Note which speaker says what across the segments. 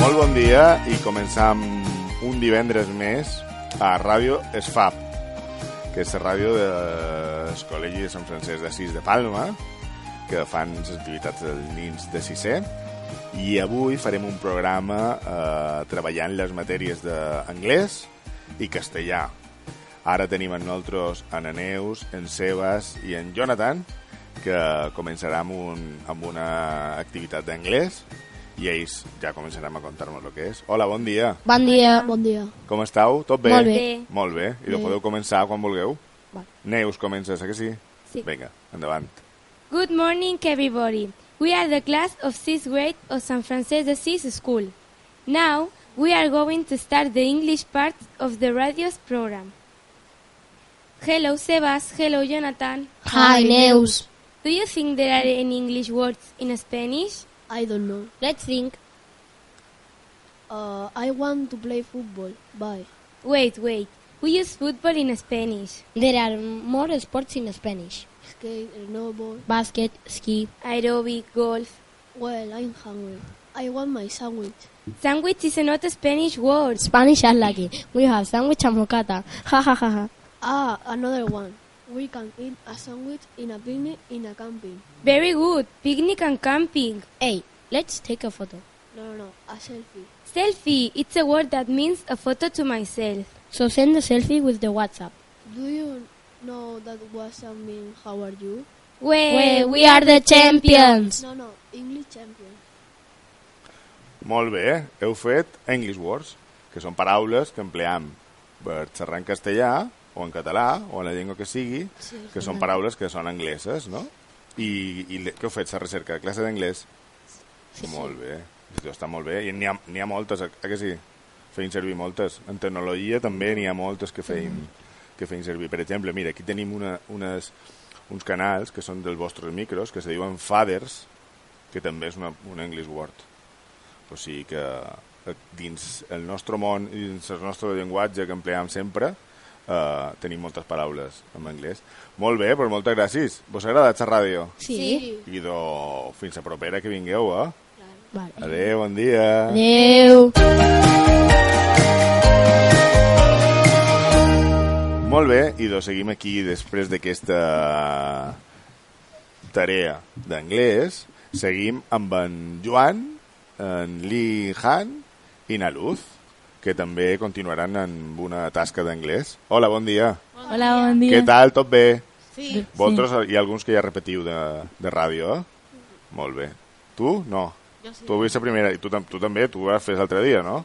Speaker 1: Molt bon dia i començam un divendres més a Ràdio Esfab, que és la ràdio dels col·legis de Sant Francesc d'Assís de Palma, que fan les activitats dels nins de sisè, i avui farem un programa eh, treballant les matèries d'anglès i castellà. Ara tenim en nosaltres en Aneus, en Sebas i en Jonathan, que començarà amb, un, amb una activitat d'anglès i ells ja començaran a contar-nos el que és. Hola, bon dia.
Speaker 2: Bon dia. Bon dia.
Speaker 1: Com estàu? Tot bé?
Speaker 2: Molt bé.
Speaker 3: Bé.
Speaker 1: Molt bé. I lo
Speaker 2: Bé.
Speaker 1: podeu començar quan vulgueu.
Speaker 2: Vale.
Speaker 1: Neus, comences, eh que sí?
Speaker 3: Sí.
Speaker 1: Vinga, endavant.
Speaker 3: Good morning, everybody. We are the class of sixth grade of San Francisco de Sis School. Now we are going to start the English part of the radio's program. Hello, Sebas. Hello, Jonathan.
Speaker 2: Hi, Neus.
Speaker 3: Do you think there are any English words in Spanish?
Speaker 2: I don't know.
Speaker 4: Let's think.
Speaker 2: Uh, I want to play football. Bye.
Speaker 3: Wait, wait. We use football in Spanish.
Speaker 4: There are more sports in Spanish.
Speaker 2: Skate, snowboard.
Speaker 4: Basket, ski.
Speaker 3: Aerobic, golf.
Speaker 2: Well, I'm hungry. I want my sandwich.
Speaker 3: Sandwich is not a Spanish word.
Speaker 4: Spanish are lucky. We have sandwich and mocata. Ha ha ha ha.
Speaker 2: Ah, another one. We can eat a sandwich in a picnic in a camping.
Speaker 3: Very good. Picnic and camping.
Speaker 4: Hey, let's take a photo.
Speaker 2: No, no, no, a selfie.
Speaker 3: Selfie. It's a word that means a photo to myself.
Speaker 4: So send a selfie with the WhatsApp.
Speaker 2: Do you know that WhatsApp means how are you?
Speaker 3: Well,
Speaker 2: No, no, English champion.
Speaker 1: Molt bé, heu fet English Words, que són paraules que empleam per xerrar en castellà, o en català, o en la llengua que sigui,
Speaker 2: Sí,
Speaker 1: que són paraules que són angleses, no? I, i le- què heu fet, la recerca? Classe d'anglès? Sí, molt bé, Això està molt bé. I n'hi ha, n'hi ha moltes, eh eh que sí? Feim servir moltes. En tecnologia també n'hi ha moltes que feim, que feim servir. Per exemple, mira, aquí tenim una, unes, uns canals que són dels vostres micros, que se diuen Fathers, que també és una, un English Word. O sigui que eh, dins el nostre món i dins el nostre llenguatge que empleam sempre eh, tenim moltes paraules en anglès. Molt bé, doncs moltes gràcies. Vos ha agradat la ràdio?
Speaker 4: Sí.
Speaker 1: I do, fins a propera que vingueu, eh?
Speaker 4: Vale.
Speaker 1: Adéu, bon dia.
Speaker 4: Adeu.
Speaker 1: Molt bé, i doncs seguim aquí després d'aquesta tarea d'anglès. Seguim amb en Joan, en Li Han i na Luz, que també continuaran amb una tasca d'anglès. Hola, bon dia.
Speaker 5: Hola, buen día.
Speaker 1: Què tal? Tot bé?
Speaker 5: Sí.
Speaker 1: Vosaltres hi ha alguns que ja repetiu de, de ràdio, eh? Molt bé. Tu? No. Tu avui és la primera, i tu, tam- tu també, tu vas fer l'altre dia, no?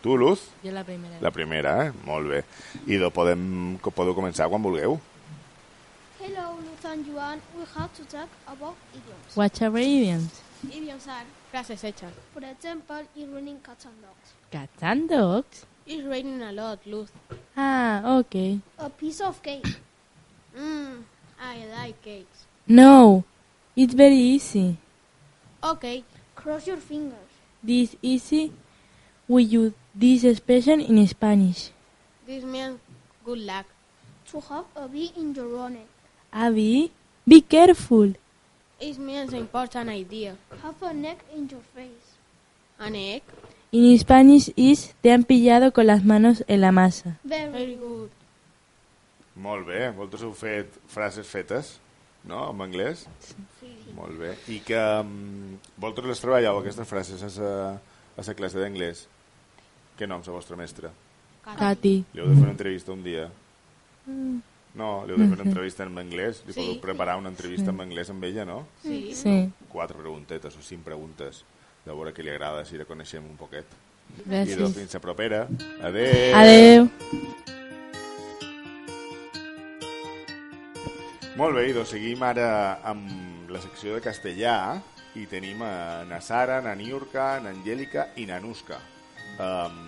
Speaker 1: Tu, Luz?
Speaker 5: Yo la primera.
Speaker 1: La primera, eh? Molt bé. I do, podem, co- podeu començar quan vulgueu.
Speaker 6: Hello, Lutz and Joan. We have to talk about idioms.
Speaker 5: What's your idioms?
Speaker 6: Idioms are,
Speaker 7: Frases hechas.
Speaker 6: for example, it raining cats and dogs.
Speaker 5: Cats and dogs.
Speaker 7: It's raining a lot, Luz.
Speaker 5: Ah, okay.
Speaker 6: A piece of cake.
Speaker 7: Mmm, I like cakes.
Speaker 5: No, it's very easy.
Speaker 7: Okay,
Speaker 6: Cross your fingers.
Speaker 5: This easy. We use this expression in Spanish.
Speaker 7: this means good luck.
Speaker 6: To have a bee in your bonnet.
Speaker 5: Abby, be careful.
Speaker 7: It means important idea.
Speaker 6: Have a neck in your face.
Speaker 7: An egg?
Speaker 5: In Spanish is te han pillado con las manos en la masa.
Speaker 6: Very
Speaker 7: Very good.
Speaker 1: Molt bé. Vosaltres heu fet frases fetes, no?, en anglès? Sí. Molt bé. I que um, vosaltres les treballeu, aquestes frases, a sa, a sa classe d'anglès? Què nom és la vostra mestra?
Speaker 5: Katy.
Speaker 1: Li heu de fer una entrevista un dia. No, li heu de fer una entrevista en anglès. Li
Speaker 7: Sí.
Speaker 1: podeu preparar una entrevista en anglès amb ella, no?
Speaker 7: Sí.
Speaker 5: Sí,
Speaker 1: Quatre preguntetes o cinc preguntes. De veure què li agrada, si la coneixem un poquet. I doncs
Speaker 5: gràcies.
Speaker 1: fins la propera. Adéu.
Speaker 5: Adeu.
Speaker 1: Molt bé, i doncs seguim ara amb la secció de castellà i tenim a na Sara, na Niurka, na Angélica i na Nuska um,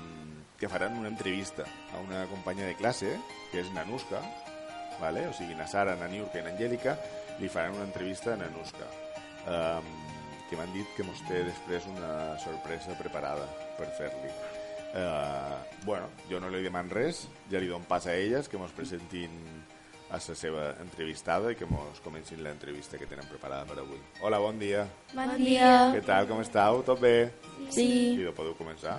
Speaker 1: que faran una entrevista a una companya de classe que és Nanuska vale? o sigui, na Sara, na Niurka i na Angélica li faran una entrevista a Nanuska um, que m'han dit que mos té després una sorpresa preparada per fer-li uh, bueno, jo no li deman res ja li don pas a elles que mos presentin a la seva entrevistada i que mos comencin l'entrevista que tenen preparada per avui. Hola, bon dia.
Speaker 8: Bon día.
Speaker 1: Què tal, com esteu? Tot bé?
Speaker 5: Sí.
Speaker 1: Idò, podeu començar?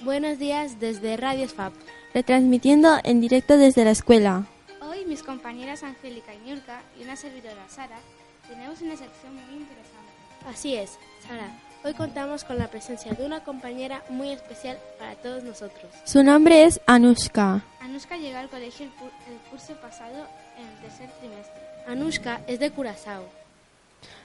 Speaker 8: Buenos días desde Radio Fab.
Speaker 5: Retransmitiendo en directo desde la escuela.
Speaker 9: Hoy mis compañeras Angélica y Niurka y una servidora Sara tenemos una sección muy interesante.
Speaker 3: Así es, Sara. Hoy contamos con la presencia de una compañera muy especial para todos nosotros.
Speaker 5: Su nombre es Anushka.
Speaker 9: Anuska llegó al colegio el, pu- el curso pasado en el tercer trimestre.
Speaker 3: Anushka es de Curazao.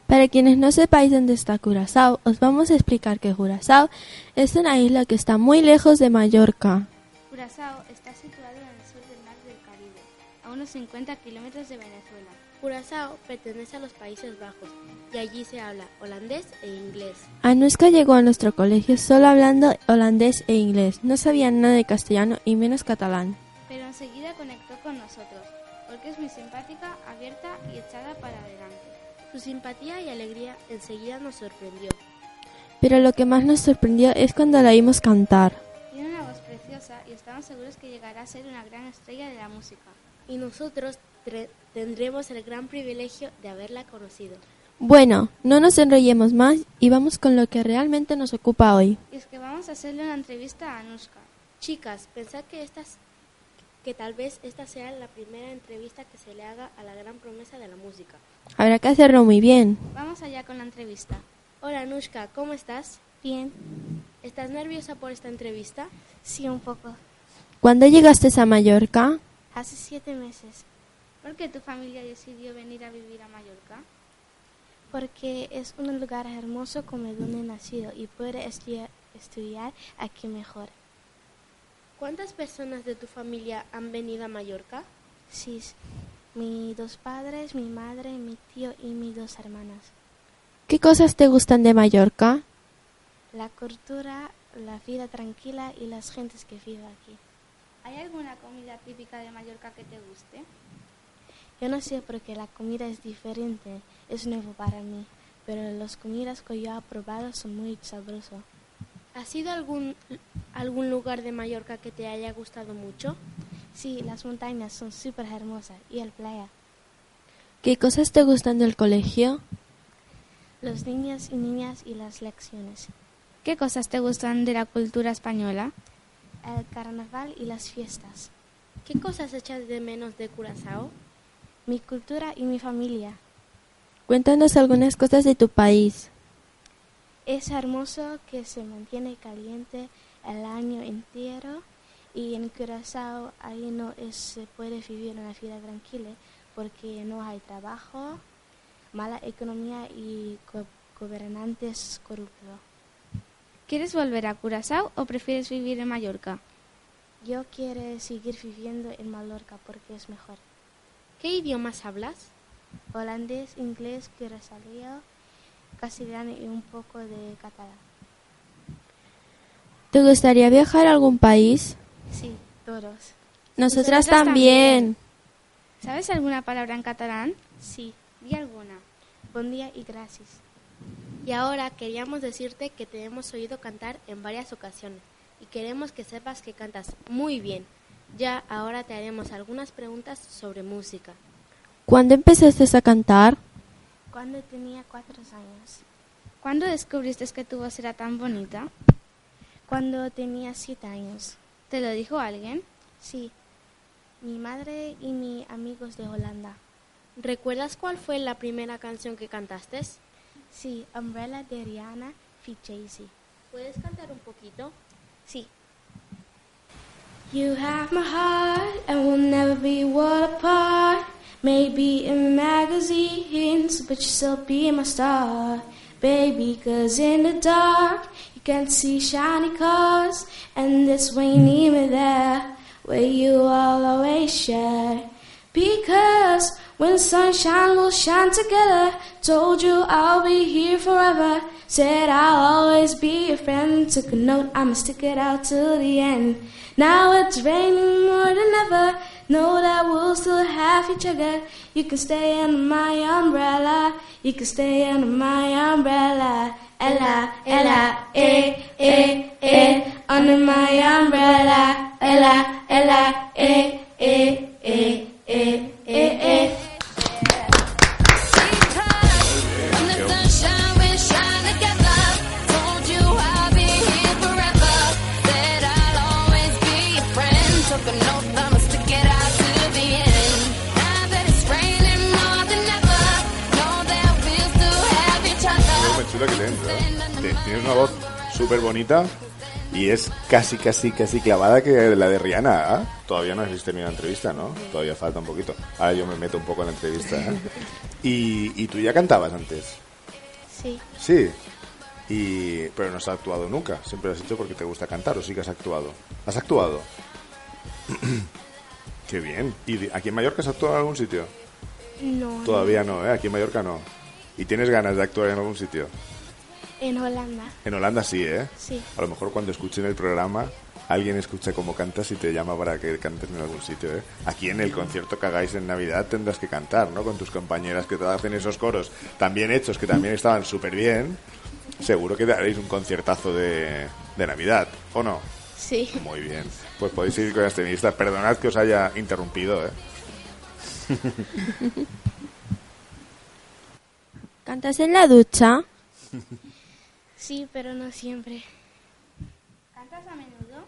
Speaker 5: Para quienes no sepáis dónde está Curazao, os vamos a explicar que Curazao es una isla que está muy lejos de Mallorca.
Speaker 9: Curazao está situado en el sur del mar del Caribe, a unos 50 kilómetros de Venezuela.
Speaker 3: Curazao pertenece a los Países Bajos y allí se habla holandés e inglés.
Speaker 5: Anuska llegó a nuestro colegio solo hablando holandés e inglés. No sabía nada de castellano y menos catalán.
Speaker 9: Pero enseguida conectó con nosotros, porque es muy simpática, abierta y echada para adelante.
Speaker 3: Su simpatía y alegría enseguida nos sorprendió.
Speaker 5: Pero lo que más nos sorprendió es cuando la oímos cantar.
Speaker 9: Tiene una voz preciosa y estamos seguros que llegará a ser una gran estrella de la música.
Speaker 3: Y nosotros tre- tendremos el gran privilegio de haberla conocido.
Speaker 5: Bueno, no nos enrollemos más y vamos con lo que realmente nos ocupa hoy.
Speaker 9: Y es que vamos a hacerle una entrevista a Anuska.
Speaker 3: Chicas, pensad que estas que tal vez esta sea la primera entrevista que se le haga a la gran promesa de la música.
Speaker 5: Habrá que hacerlo muy bien.
Speaker 9: Vamos allá con la entrevista.
Speaker 3: Hola Anushka, ¿cómo estás?
Speaker 9: Bien,
Speaker 3: ¿Estás nerviosa por esta entrevista?
Speaker 9: sí, un poco.
Speaker 5: ¿Cuándo llegaste a Mallorca?
Speaker 9: Hace siete meses. ¿Por qué tu familia decidió venir a vivir a Mallorca?
Speaker 10: Porque es un lugar hermoso como donde he nacido y puedo estudiar, estudiar aquí mejor.
Speaker 3: ¿Cuántas personas de tu familia han venido a Mallorca?
Speaker 10: Sí, mis dos padres, mi madre, mi tío y mis dos hermanas.
Speaker 5: ¿Qué cosas te gustan de Mallorca?
Speaker 10: La cultura, la vida tranquila y las gentes que viven aquí.
Speaker 9: ¿Hay alguna comida típica de Mallorca que te guste?
Speaker 10: Yo no sé porque la comida es diferente, es nuevo para mí, pero las comidas que yo he probado son muy sabrosas.
Speaker 3: ¿Has ido a algún, algún lugar de Mallorca que te haya gustado mucho?
Speaker 10: Sí, las montañas son súper hermosas y el playa.
Speaker 5: ¿Qué cosas te gustan del colegio?
Speaker 10: Los niños y niñas y las lecciones.
Speaker 9: ¿Qué cosas te gustan de la cultura española?
Speaker 10: El carnaval y las fiestas.
Speaker 3: ¿Qué cosas echas de menos de Curazao?
Speaker 10: Mi cultura y mi familia.
Speaker 5: Cuéntanos algunas cosas de tu país.
Speaker 10: Es hermoso que se mantiene caliente el año entero y en Curazao ahí no es- se puede vivir una vida tranquila porque no hay trabajo, mala economía y go- gobernantes corruptos.
Speaker 9: ¿Quieres volver a Curazao o prefieres vivir en Mallorca?
Speaker 10: Yo quiero seguir viviendo en Mallorca porque es mejor.
Speaker 3: ¿Qué idiomas hablas?
Speaker 10: Holandés, inglés, curazao, castellano y un poco de catalán.
Speaker 5: ¿Te gustaría viajar a algún país?
Speaker 10: Sí, todos.
Speaker 5: Nosotras,
Speaker 9: Nosotras
Speaker 5: también.
Speaker 9: ¿Sabes alguna palabra en catalán?
Speaker 10: Sí.
Speaker 9: Di alguna.
Speaker 10: Buen día y gracias.
Speaker 3: Y ahora queríamos decirte que te hemos oído cantar en varias ocasiones y queremos que sepas que cantas muy bien. Ya ahora te haremos algunas preguntas sobre música.
Speaker 5: ¿Cuándo empezaste a cantar?
Speaker 10: Cuando tenía cuatro años,
Speaker 9: ¿Cuándo descubriste que tu voz era tan bonita?
Speaker 10: cuando tenía siete años,
Speaker 9: ¿Te lo dijo alguien?
Speaker 10: sí, mi madre y mis amigos de Holanda.
Speaker 3: ¿Recuerdas cuál fue la primera canción que cantaste?
Speaker 10: Sí, Umbrella de Rihanna y Jay-Z.
Speaker 3: ¿Puedes cantar un poquito?
Speaker 10: Sí, You have my heart, and we'll never be world apart. Maybe in magazines, but you'll still be my star, baby. Cause in the dark, you can see shiny cars, and that's when you need me there, where you will always share. Because when the sunshine will shine together, told you I'll be here forever. Said I'll always be your friend. Took a note, I'ma stick it out till the end. Now it's raining more than ever. Know that we'll still have each other. You can stay under my umbrella. You can stay under my umbrella. Ella, Ella, eh, eh, eh. Under my umbrella. Ella, Ella, eh, eh, eh, eh, eh, eh.
Speaker 1: Chula que tienes, ¿eh? Te- Tienes una voz súper bonita y es casi, casi, casi clavada que la de Rihanna. ¿ah? Todavía no has terminado la entrevista, ¿no? Todavía falta un poquito. Ahora yo me meto un poco en la entrevista. ¿eh? Y, y tú ya cantabas antes.
Speaker 10: Sí,
Speaker 1: Sí. Y, pero no has actuado nunca. Siempre lo has hecho porque te gusta cantar o sí que has actuado. ¿Has actuado? Qué bien. ¿Y de- aquí en Mallorca has actuado en algún sitio?
Speaker 10: no.
Speaker 1: Todavía no, ¿eh? Aquí en Mallorca no. ¿Y tienes ganas de actuar en algún sitio?
Speaker 10: En Holanda,
Speaker 1: En Holanda sí, ¿eh?
Speaker 10: sí.
Speaker 1: A lo mejor cuando escuchen el programa, alguien escucha cómo cantas y te llama para que cantes en algún sitio, ¿eh? Aquí en el concierto que hagáis en Navidad tendrás que cantar, ¿no? Con tus compañeras que te hacen esos coros tan bien hechos, que también estaban súper bien. Seguro que daréis un conciertazo de, de Navidad, ¿o no?
Speaker 10: Sí.
Speaker 1: Muy bien. Pues podéis seguir con las tenistas. Perdonad que os haya interrumpido, ¿eh?
Speaker 5: ¿Cantas en la ducha?
Speaker 10: Sí, pero no siempre.
Speaker 9: ¿Cantas a menudo?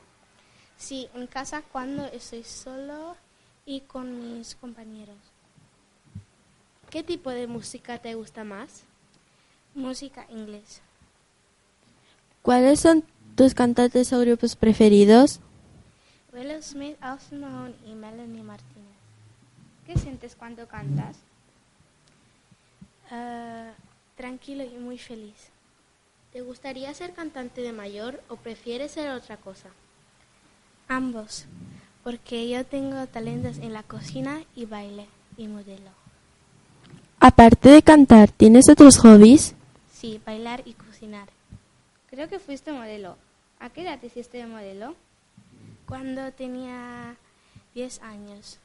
Speaker 10: Sí, en casa cuando estoy solo y con mis compañeros.
Speaker 3: ¿Qué tipo de música te gusta más?
Speaker 10: Música inglés.
Speaker 5: ¿Cuáles son tus cantantes o grupos preferidos?
Speaker 10: Willow Smith, Austin Mahone y Melanie Martínez.
Speaker 9: ¿Qué sientes cuando cantas?
Speaker 10: Ah, tranquilo y muy feliz.
Speaker 3: ¿Te gustaría ser cantante de mayor o prefieres ser otra cosa?
Speaker 10: Ambos, porque yo tengo talentos en la cocina y baile y modelo.
Speaker 5: Aparte de cantar, ¿tienes otros hobbies?
Speaker 10: Sí, bailar y cocinar.
Speaker 9: Creo que fuiste modelo. ¿A qué edad te hiciste de modelo?
Speaker 10: Cuando tenía 10 años.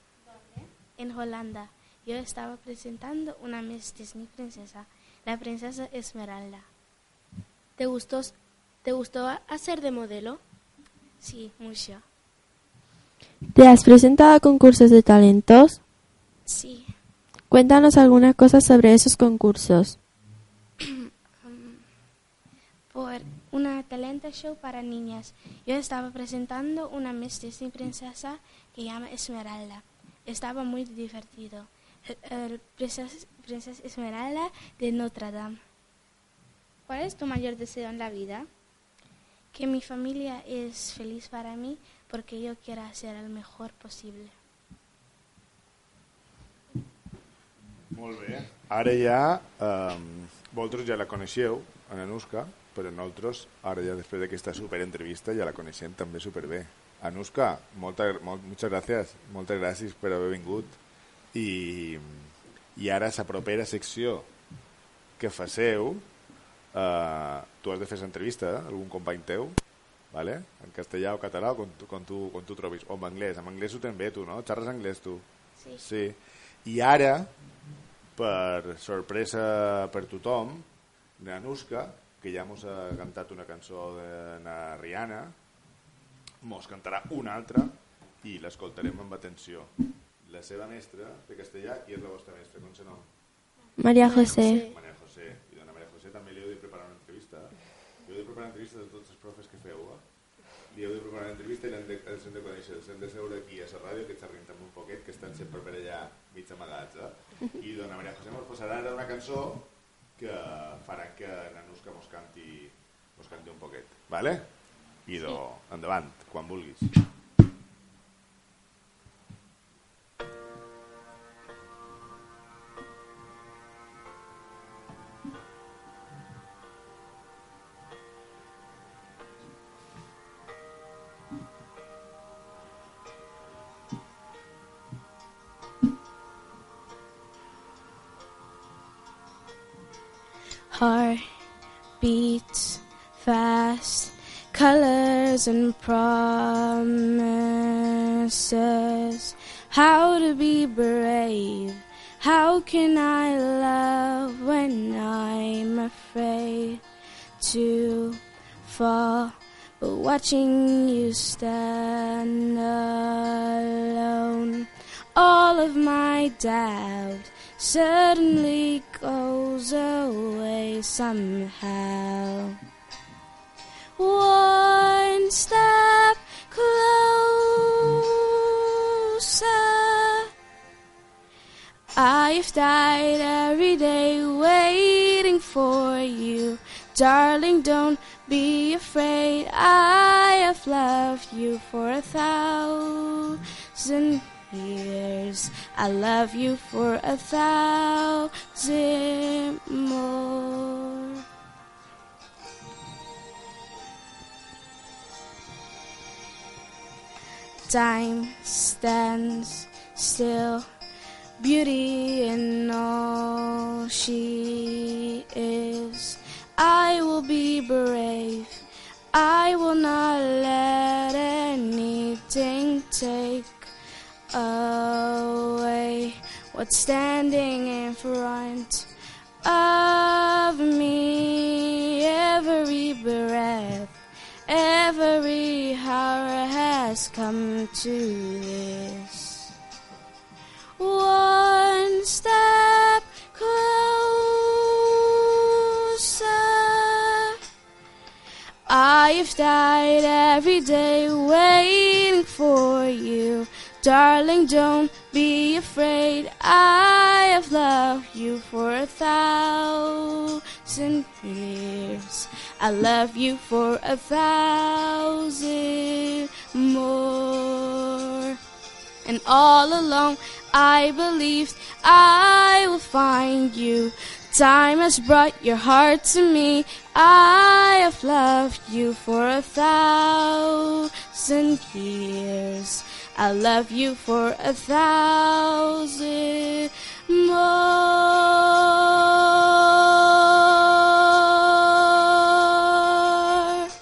Speaker 10: En Holanda, yo estaba presentando una Miss Disney princesa, la princesa Esmeralda.
Speaker 3: ¿Te gustó, te gustó hacer de modelo?
Speaker 10: Sí, mucho.
Speaker 5: ¿Te has presentado a concursos de talentos?
Speaker 10: Sí.
Speaker 5: Cuéntanos alguna cosa sobre esos concursos.
Speaker 10: Por una talento show para niñas, yo estaba presentando una Miss Disney princesa que llama Esmeralda. Estaba muy divertido. El- el princesa, princesa Esmeralda de Notre Dame.
Speaker 9: ¿Cuál es tu mayor deseo en la vida?
Speaker 10: Que mi familia es feliz para mí porque yo quiero hacer el mejor posible.
Speaker 1: Molt bé. Ara ja, um, vosaltres ja la coneixeu, en Anuska, però nosaltres, ara ja després d'aquesta superentrevista, ja la coneixem també superbé. Anuska, molta, molt, muchas gracias, moltes gràcies per haver vingut. I, i ara la propera secció que faceu, uh, tu has de fer l'entrevista, eh? algun company teu, vale? en castellà o català, o com, tu- com, tu, com tu trobis, o en anglès. En anglès ho tens bé, tu, no? Xerres anglès, tu?
Speaker 10: Sí.
Speaker 1: sí. I ara, per sorpresa per tothom, Nanuska, que ja mos ha cantat una cançó de na Rihanna, mos cantarà una altra i l'escoltarem amb atenció. La seva mestra de castellà i és la vostra mestra, com se nom?
Speaker 5: María José.
Speaker 1: María José. I dona María José també li heu de preparar una entrevista. Li heu de preparar entrevistes a tots els profes que feu, eh? Li heu de preparar una entrevista i l'hem de, els hem de conèixer. Els hem de seure aquí a la ràdio, que xerrin també un poquet, que estan sempre per allà mig amagats, eh? I dona María José mos passarà ara una cançó que farà que Nanusca mos canti, mos canti un poquet, vale? Idò, endavant, quan vulguis.
Speaker 10: heart beats fast, colors and promises. How to be brave? How can I love when I'm afraid to fall? Oh, But watching you stand alone,
Speaker 3: Oh.
Speaker 10: all of my doubt suddenly goes away somehow. One step closer. I've died every day waiting for you. Darling, don't be afraid. I have loved you for a thousand years. I love you for a thousand more. Time stands still, beauty in all she is. I will be brave. I will not let anything take away what's standing in front of me. Every breath, every hour has come to this. One step closer. I've died every day waiting for you. Darling, don't be afraid. I have loved you for a thousand years. I love you for a thousand more. And all along, I believed I will find you. Time has brought your heart to me. I have loved you for a thousand years. I love you for a thousand more.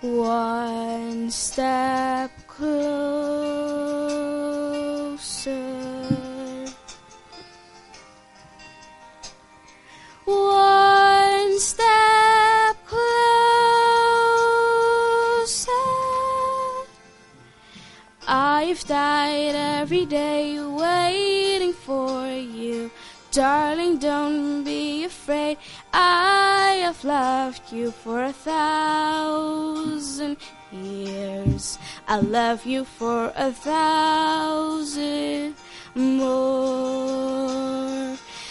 Speaker 10: One step closer. One step closer. I've died every day waiting for you. Darling, don't be afraid. I have loved you for a thousand years. I love you for a thousand more.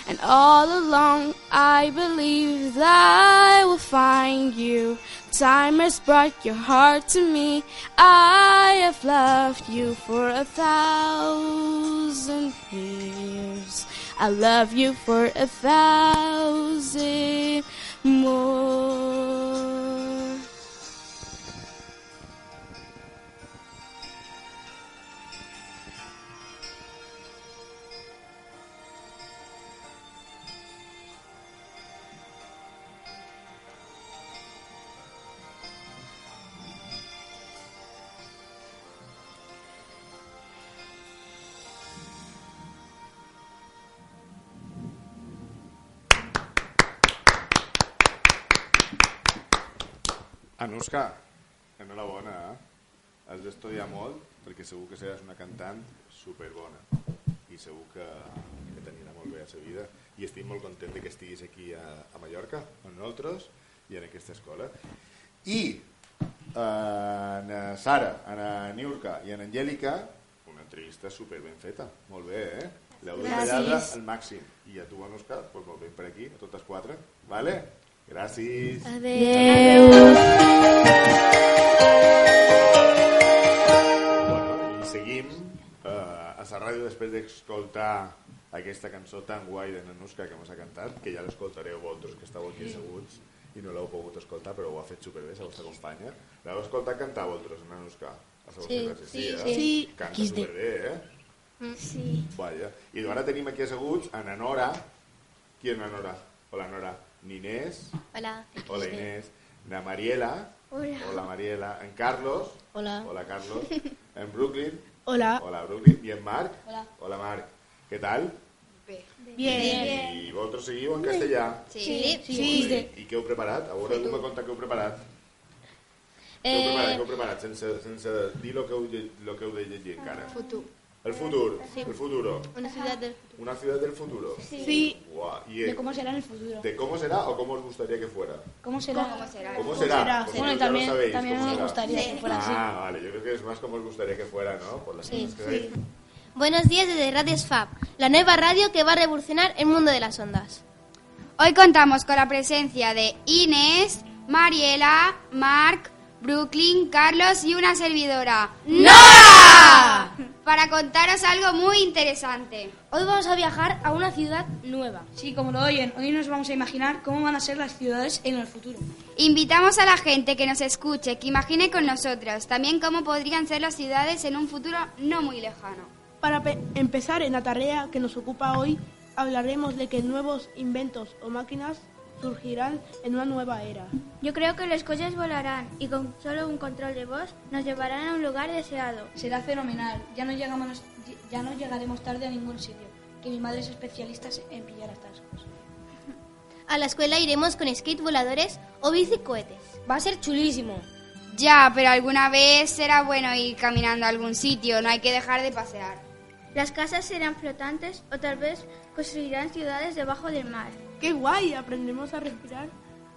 Speaker 10: And all along, I believe that I will find you. Time has brought your heart to me. I have loved you for a thousand years. I love you for a thousand more.
Speaker 1: Anuska, enhorabona, eh? Has d'estudiar molt perquè segur que seràs una cantant superbona i segur que, que t'anirà molt bé a la vida. I estic molt content de que estiguis aquí a, a Mallorca, amb nosaltres i en aquesta escola. I eh, en eh, Sara, en eh, Niurka i en Angèlica, una entrevista super ben feta. Molt bé, eh? L'heu detallada al màxim. I a tu, Anuska, doncs molt ben per aquí, a totes quatre. Vale? Gràcies. Bueno, i seguim eh, a la ràdio després d'escoltar aquesta cançó tan guai de Nanusca que mos ha cantat, que ja l'escoltareu vosaltres que estàveu aquí asseguts i no l'heu pogut escoltar, però ho ha fet superbé, la vostra companya. L'heu escoltat cantar vosaltres, Nanusca? A la
Speaker 11: Sí,
Speaker 1: vostra
Speaker 11: sí, sí.
Speaker 1: classe,
Speaker 11: Mm. Sí.
Speaker 1: eh? Canta
Speaker 11: Aquí es diu.
Speaker 1: superbé, eh?
Speaker 11: Sí.
Speaker 1: Vaja. I doncs ara tenim aquí asseguts a na Nora. Qui és na Nora? Hola, Nora. Ninés.
Speaker 12: Hola.
Speaker 1: Hola, Inés. Na Mariela.
Speaker 12: Hola.
Speaker 1: Hola, Mariela. En Carlos.
Speaker 12: Hola.
Speaker 1: Hola, Carlos. En Brooklyn.
Speaker 12: Hola.
Speaker 1: Hola, Brooklyn. I en Marc.
Speaker 12: Hola.
Speaker 1: Hola, Marc. Què tal?
Speaker 12: Bien.
Speaker 1: I vosaltres seguiu en castellà?
Speaker 12: Sí. Sí. Sí.
Speaker 1: Molt bé. I què heu preparat? A veure, algú m'ha contat què heu preparat. Què heu preparat? Què heu preparat? Sense, sense dir el que heu, lle- lo que heu de llegir encara.
Speaker 13: Futuro.
Speaker 1: El futur.
Speaker 13: Sí.
Speaker 1: El futuro.
Speaker 13: Una ciudad del futuro.
Speaker 1: Una ciudad del futuro.
Speaker 13: Sí. Sí.
Speaker 1: Guau. Y,
Speaker 11: De cómo será en el futuro.
Speaker 1: ¿De cómo será o cómo os gustaría que fuera?
Speaker 11: ¿Cómo será? ¿Cómo será?
Speaker 1: ¿Cómo será? Pues Vosotros ya
Speaker 11: Bueno,
Speaker 1: lo
Speaker 11: también,
Speaker 1: sabéis,
Speaker 11: también
Speaker 1: ¿cómo
Speaker 11: nos
Speaker 1: será?
Speaker 11: gustaría que fuera así.
Speaker 1: Ah, vale, yo creo que es más como os gustaría que fuera, ¿no? Por las
Speaker 12: Sí,
Speaker 1: cosas que veis.
Speaker 12: Buenos días desde Radio Esfab, la nueva radio que va a revolucionar el mundo de las ondas. Hoy contamos con la presencia de Inés, Mariela, Marc, Brooklyn, Carlos y una servidora, ¡Nora! Para contaros algo muy interesante.
Speaker 14: Hoy vamos a viajar a una ciudad nueva. Sí, como lo oyen, hoy nos vamos a imaginar cómo van a ser las ciudades en el futuro.
Speaker 12: Invitamos a la gente que nos escuche, que imagine con nosotros también cómo podrían ser las ciudades en un futuro no muy lejano.
Speaker 2: Para pe- empezar en la tarea que nos ocupa hoy, hablaremos de que nuevos inventos o máquinas surgirán en una nueva era.
Speaker 10: Yo creo que los coches volarán y con solo un control de voz nos llevarán a un lugar deseado.
Speaker 14: Será fenomenal, ya no, llegamos, ya no llegaremos tarde a ningún sitio, que mi madre es especialista en pillar estas cosas.
Speaker 12: A la escuela iremos con skate voladores o bici cohetes.
Speaker 14: Va a ser chulísimo.
Speaker 12: Ya, pero alguna vez será bueno ir caminando a algún sitio, no hay que dejar de pasear.
Speaker 10: Las casas serán flotantes o tal vez construirán ciudades debajo del mar.
Speaker 2: ¡Qué guay! Aprendemos a respirar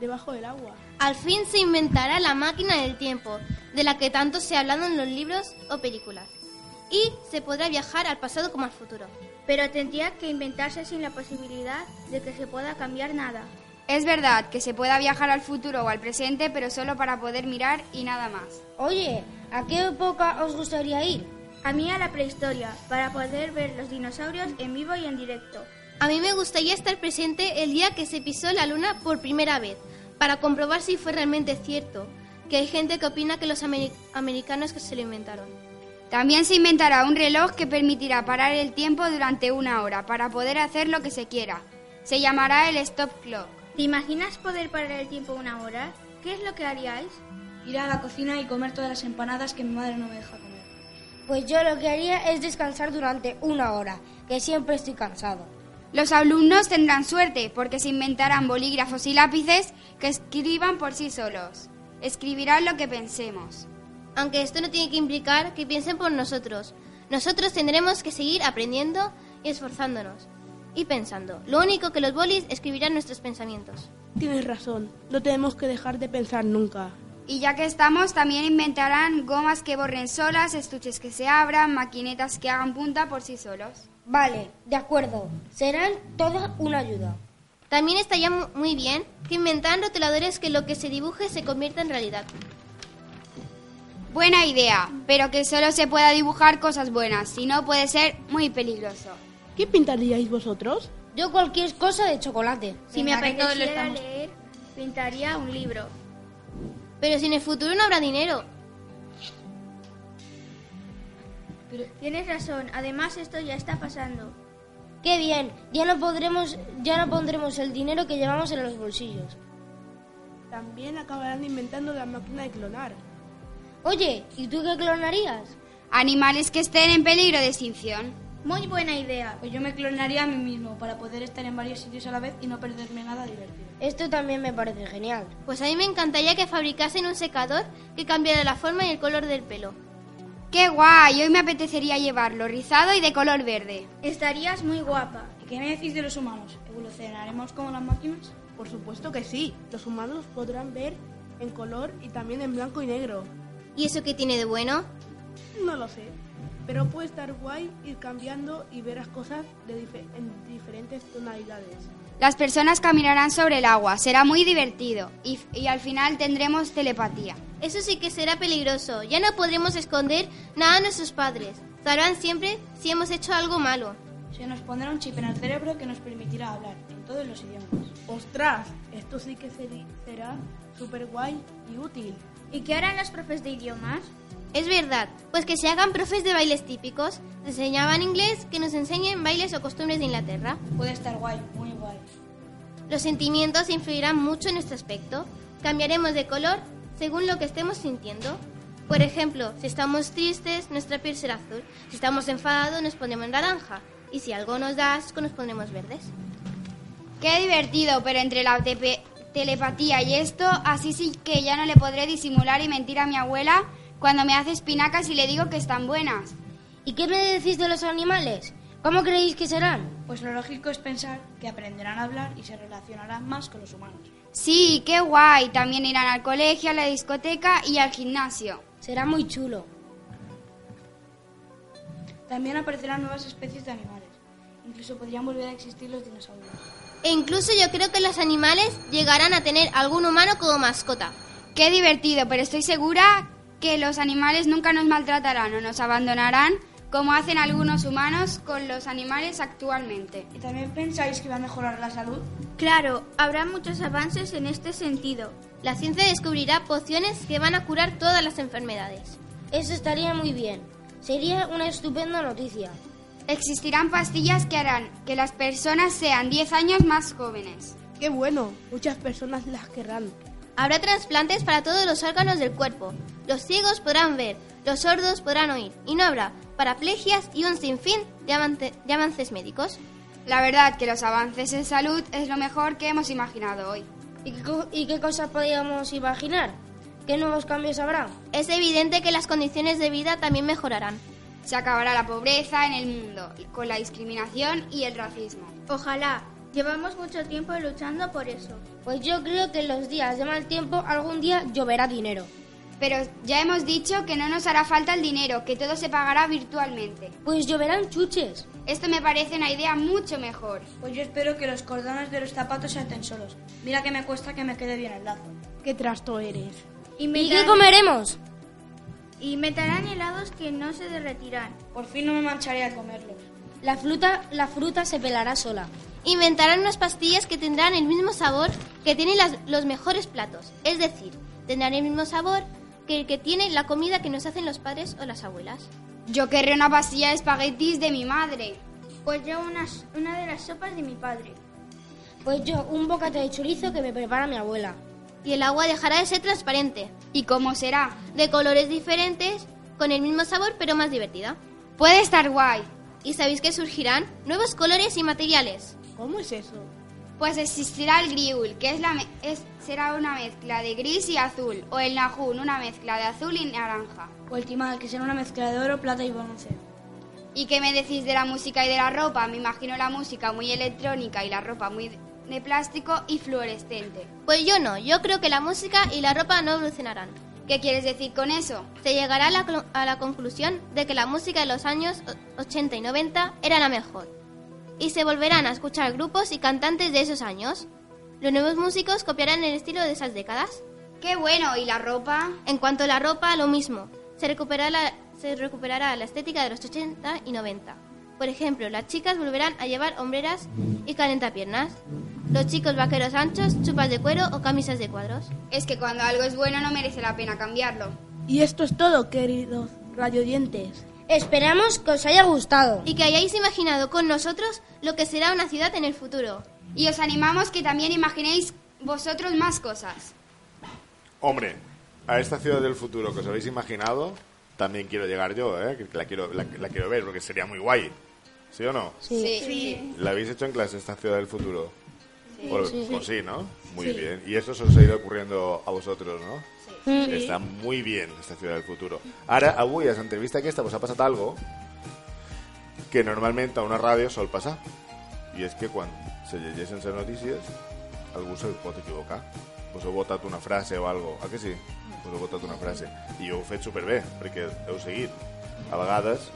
Speaker 2: debajo del agua.
Speaker 12: Al fin se inventará la máquina del tiempo, de la que tanto se ha hablado en los libros o películas. Y se podrá viajar al pasado como al futuro.
Speaker 10: Pero tendría que inventarse sin la posibilidad de que se pueda cambiar nada.
Speaker 12: Es verdad que se pueda viajar al futuro o al presente, pero solo para poder mirar y nada más.
Speaker 10: Oye, ¿a qué época os gustaría ir? A mí a la prehistoria, para poder ver los dinosaurios en vivo y en directo.
Speaker 12: A mí me gustaría estar presente el día que se pisó la luna por primera vez, para comprobar si fue realmente cierto, que hay gente que opina que los americanos que se lo inventaron. También se inventará un reloj que permitirá parar el tiempo durante una hora para poder hacer lo que se quiera. Se llamará el stop clock.
Speaker 10: ¿Te imaginas poder parar el tiempo una hora? ¿Qué es lo que haríais?
Speaker 14: Ir a la cocina y comer todas las empanadas que mi madre no me deja comer.
Speaker 3: Pues yo lo que haría es descansar durante una hora, que siempre estoy cansado.
Speaker 12: Los alumnos tendrán suerte porque se inventarán bolígrafos y lápices que escriban por sí solos. Escribirán lo que pensemos. Aunque esto no tiene que implicar que piensen por nosotros. Nosotros tendremos que seguir aprendiendo y esforzándonos. Y pensando. Lo único que los bolis escribirán nuestros pensamientos.
Speaker 2: Tienes razón, no tenemos que dejar de pensar nunca.
Speaker 12: Y ya que estamos, también inventarán gomas que borren solas, estuches que se abran, maquinetas que hagan punta por sí solos.
Speaker 3: Vale, de acuerdo, serán todas una ayuda.
Speaker 12: También estaría mu- muy bien que inventaran rotuladores que lo que se dibuje se convierta en realidad. Buena idea, pero que solo se pueda dibujar cosas buenas, si no puede ser muy peligroso.
Speaker 2: ¿Qué pintaríais vosotros?
Speaker 3: Yo cualquier cosa de chocolate.
Speaker 10: Si me apeteciera
Speaker 3: estamos.
Speaker 10: leer, pintaría un libro.
Speaker 12: Pero si en el futuro no habrá dinero.
Speaker 10: Tienes razón, además esto ya está pasando.
Speaker 3: Qué bien, ya no podremos, ya no pondremos el dinero que llevamos en los bolsillos.
Speaker 2: También acabarán inventando la máquina de clonar.
Speaker 3: Oye, ¿y tú qué clonarías?
Speaker 12: Animales que estén en peligro de extinción.
Speaker 10: Muy buena idea.
Speaker 14: Pues yo me clonaría a mí mismo para poder estar en varios sitios a la vez y no perderme nada divertido.
Speaker 3: Esto también me parece genial.
Speaker 12: Pues a mí me encantaría que fabricasen un secador que cambiara la forma y el color del pelo. ¡Qué guay! Hoy me apetecería llevarlo rizado y de color verde.
Speaker 10: Estarías muy guapa.
Speaker 14: ¿Y qué me decís de los humanos? ¿Evolucionaremos como las máquinas?
Speaker 2: Por supuesto que sí, los humanos podrán ver en color y también en blanco y negro.
Speaker 12: ¿Y eso qué tiene de bueno?
Speaker 2: No lo sé, pero puede estar guay ir cambiando y ver las cosas de dife- en diferentes tonalidades.
Speaker 12: Las personas caminarán sobre el agua, será muy divertido y, y al final tendremos telepatía. Eso sí que será peligroso, ya no podremos esconder nada a nuestros padres. Sabrán siempre si hemos hecho algo malo.
Speaker 15: Se nos pondrá un chip en el cerebro que nos permitirá hablar en todos los idiomas.
Speaker 2: ¡Ostras! Esto sí que seri- será súper guay y útil.
Speaker 16: ¿Y qué harán los profes de idiomas?
Speaker 10: Es verdad, pues que se hagan profes de bailes típicos. Enseñaban inglés, que nos enseñen bailes o costumbres de Inglaterra.
Speaker 15: Puede estar guay, muy guay.
Speaker 10: Los sentimientos influirán mucho en nuestro aspecto. Cambiaremos de color según lo que estemos sintiendo. Por ejemplo, si estamos tristes, nuestra piel será azul. Si estamos enfadados, nos pondremos naranja. Y si algo nos da asco, nos pondremos verdes.
Speaker 12: Qué divertido, pero entre la tepe- telepatía y esto, así sí que ya no le podré disimular y mentir a mi abuela cuando me hace espinacas y le digo que están buenas.
Speaker 3: ¿Y qué me decís de los animales? ¿Cómo creéis que serán?
Speaker 15: Pues lo lógico es pensar que aprenderán a hablar y se relacionarán más con los humanos.
Speaker 12: Sí, qué guay. También irán al colegio, a la discoteca y al gimnasio.
Speaker 3: Será muy chulo.
Speaker 15: También aparecerán nuevas especies de animales. Incluso podrían volver a existir los dinosaurios.
Speaker 10: E incluso yo creo que los animales llegarán a tener algún humano como mascota.
Speaker 12: Qué divertido, pero estoy segura que los animales nunca nos maltratarán o nos abandonarán como hacen algunos humanos con los animales actualmente.
Speaker 15: ¿Y también pensáis que va a mejorar la salud?
Speaker 16: Claro, habrá muchos avances en este sentido.
Speaker 10: La ciencia descubrirá pociones que van a curar todas las enfermedades.
Speaker 3: Eso estaría muy bien. Sería una estupenda noticia.
Speaker 12: Existirán pastillas que harán que las personas sean 10 años más jóvenes.
Speaker 2: ¡Qué bueno! Muchas personas las querrán.
Speaker 10: Habrá trasplantes para todos los órganos del cuerpo. Los ciegos podrán ver, los sordos podrán oír y no habrá paraplegias y un sinfín de, avance- de avances médicos.
Speaker 12: La verdad que los avances en salud es lo mejor que hemos imaginado hoy.
Speaker 3: ¿Y qué, co- y qué cosas podíamos imaginar? ¿Qué nuevos cambios habrá?
Speaker 10: Es evidente que las condiciones de vida también mejorarán.
Speaker 12: Se acabará la pobreza en el mundo, con la discriminación y el racismo.
Speaker 16: Ojalá. Llevamos mucho tiempo luchando por eso.
Speaker 3: Pues yo creo que en los días de mal tiempo algún día lloverá dinero.
Speaker 12: Pero ya hemos dicho que no nos hará falta el dinero, que todo se pagará virtualmente.
Speaker 3: Pues lloverán chuches.
Speaker 12: Esto me parece una idea mucho mejor.
Speaker 15: Pues yo espero que los cordones de los zapatos se aten solos. Mira que me cuesta que me quede bien el lazo.
Speaker 2: ¡Qué trasto eres!
Speaker 3: ¿Y qué comeremos?
Speaker 16: Y meterán helados que no se derretirán.
Speaker 15: Por fin no me mancharé al comerlos.
Speaker 3: La fruta, la fruta se pelará sola.
Speaker 10: Inventarán unas pastillas que tendrán el mismo sabor que tienen las- los mejores platos. Es decir, tendrán el mismo sabor que el que tiene la comida que nos hacen los padres o las abuelas.
Speaker 12: Yo querré una pastilla de espaguetis de mi madre.
Speaker 16: Pues yo una, una de las sopas de mi padre.
Speaker 3: Pues yo un bocata de chorizo que me prepara mi abuela.
Speaker 10: Y el agua dejará de ser transparente,
Speaker 12: ¿Y cómo será?
Speaker 10: de colores diferentes, con el mismo sabor pero más divertida.
Speaker 12: Puede estar guay.
Speaker 10: ¿Y sabéis que surgirán? Nuevos colores y materiales.
Speaker 2: ¿Cómo es eso?
Speaker 12: Pues existirá el griul, que es la me- es- será una mezcla de gris y azul, o el najún, una mezcla de azul y naranja.
Speaker 15: O el timal, que será una mezcla de oro, plata y bronce.
Speaker 12: ¿Y qué me decís de la música y de la ropa? Me imagino la música muy electrónica y la ropa muy de- de plástico y fluorescente.
Speaker 10: Pues yo no, yo creo que la música y la ropa no evolucionarán.
Speaker 12: ¿Qué quieres decir con eso?
Speaker 10: Se llegará a la, clo- a la conclusión de que la música de los años o- 80 y 90 era la mejor. Y se volverán a escuchar grupos y cantantes de esos años. Los nuevos músicos copiarán el estilo de esas décadas.
Speaker 12: Qué bueno, ¿y la ropa?
Speaker 10: En cuanto a la ropa, lo mismo. Se recuperará la, se recuperará la estética de los 80 y 90. Por ejemplo, las chicas volverán a llevar hombreras y calentapiernas. Los chicos vaqueros anchos, chupas de cuero o camisas de cuadros.
Speaker 12: Es que cuando algo es bueno no merece la pena cambiarlo.
Speaker 2: Y esto es todo, queridos radiodientes.
Speaker 3: Esperamos que os haya gustado.
Speaker 10: Y que hayáis imaginado con nosotros lo que será una ciudad en el futuro.
Speaker 12: Y os animamos que también imaginéis vosotros más cosas.
Speaker 1: Hombre, a esta ciudad del futuro que os habéis imaginado, también quiero llegar yo, ¿eh? Que La quiero, la, la quiero ver porque sería muy guay. ¿Sí o no?
Speaker 12: Sí.
Speaker 1: ¿La habéis hecho en clase esta ciudad del futuro?
Speaker 12: Sí.
Speaker 1: Por-
Speaker 12: Sí.
Speaker 1: pues sí, ¿no? Muy
Speaker 12: Sí.
Speaker 1: bien. Y eso se os ha ido ocurriendo a vosotros, ¿no?
Speaker 12: Sí. Sí.
Speaker 1: Está muy bien esta ciudad del futuro. Ara, avui, a l'entrevista aquesta, vos pues ha passat algo que normalment a una ràdio sol passar. I és que quan se llegeixen les notícies, algú se pot equivocar. Vos heu votat una frase o algo. Ah, que sí? Vos heu votat una frase. I ho heu fet superbé, perquè heu seguit. A vegades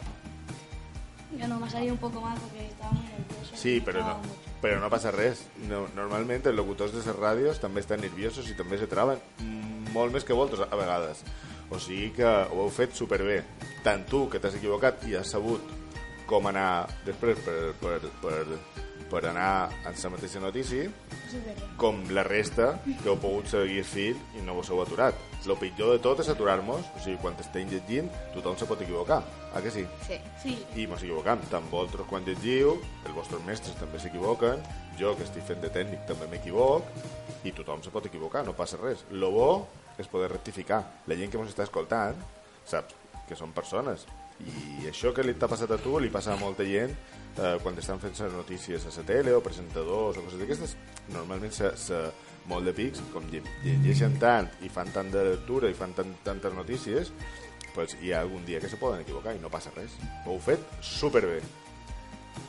Speaker 15: Yo no, me ha salido un poco mal porque estaba muy nervioso.
Speaker 1: Sí, però no, però no passa res. No, normalment els locutors de les ràdios també estan nerviosos i també se traven mm, molt més que voltes a vegades. O sigui que ho heu fet superbé. Tant tu, que t'has equivocat i has sabut com anar després per, per, per, per anar en la mateixa notícia com la resta que heu pogut seguir fil i no vos heu aturat. El pitjor de tot és aturar-nos, o sigui, quan estem llegint tothom se pot equivocar, a que sí?
Speaker 17: Sí.
Speaker 2: Sí.
Speaker 1: I mos equivocam, tant vosaltres quan llegiu, els vostres mestres també s'equivoquen, jo que estic fent de tècnic també m'equivoc, i tothom se pot equivocar, no passa res. Lo bo és poder rectificar. La gent que mos està escoltant, saps que són persones, i això que li t'ha passat a tu li passa a molta gent eh, quan estan fent les notícies a la tele o presentadors o coses d'aquestes, normalment se, se molt de pics, com lle- llegeixen tant i fan tant de lectura i fan tant, tantes notícies, pues hi ha algun dia que se poden equivocar i no passa res. Ho heu fet superbé.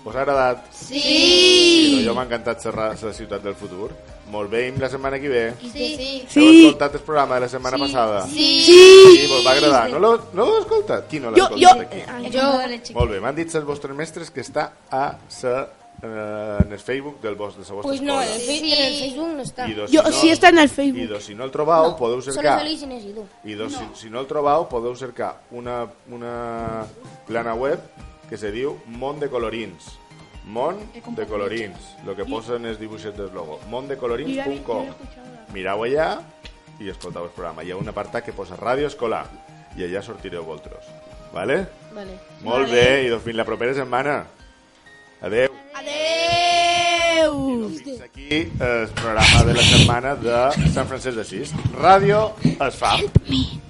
Speaker 1: Us ha agradat?
Speaker 17: Sí!
Speaker 1: I jo m'ha encantat serrar la ciutat del futur. Molt bé, la setmana que ve.
Speaker 17: Sí, sí.
Speaker 1: Sí. Heu escoltat el programa de la setmana
Speaker 17: Sí.
Speaker 1: passada?
Speaker 17: Sí.
Speaker 1: Sí, vos va agradar. No l'heu no l'heu escoltat? Qui no l'ha
Speaker 17: Jo-
Speaker 1: escoltat
Speaker 17: jo-
Speaker 1: aquí?
Speaker 3: Ah,
Speaker 17: eh, jo, la xica.
Speaker 1: Molt bé, m'han dit els vostres mestres que està a sa, eh, en el Facebook del vos, de la vostra
Speaker 18: Pues no, en
Speaker 1: escola.
Speaker 18: el, fe- en el Facebook no está.
Speaker 1: I dos,
Speaker 2: Jo-
Speaker 1: si no,
Speaker 2: sí està en el Facebook.
Speaker 1: I dos, si no el trobau,
Speaker 18: No,
Speaker 1: podeu
Speaker 18: solo
Speaker 1: cercar...
Speaker 18: salís y no he sido.
Speaker 1: I dos,
Speaker 18: No.
Speaker 1: si, si no el trobau, podeu cercar una, una plana web que se diu Mont de Colorins. Mont de Colorins. Lo que posen és dibuixet del logo. Montdecolorins.com Mirau allà i escoltau el programa. Hi ha un apartat que posa ràdio escolar i allà sortireu vosaltres. Vale?
Speaker 17: Vale.
Speaker 1: Molt
Speaker 17: Vale.
Speaker 1: bé, i doncs fins la propera setmana. Adeu.
Speaker 17: Adeu!
Speaker 1: Aquí eh, el programa de la setmana de Sant Francesc d'Assís. Ràdio es fa.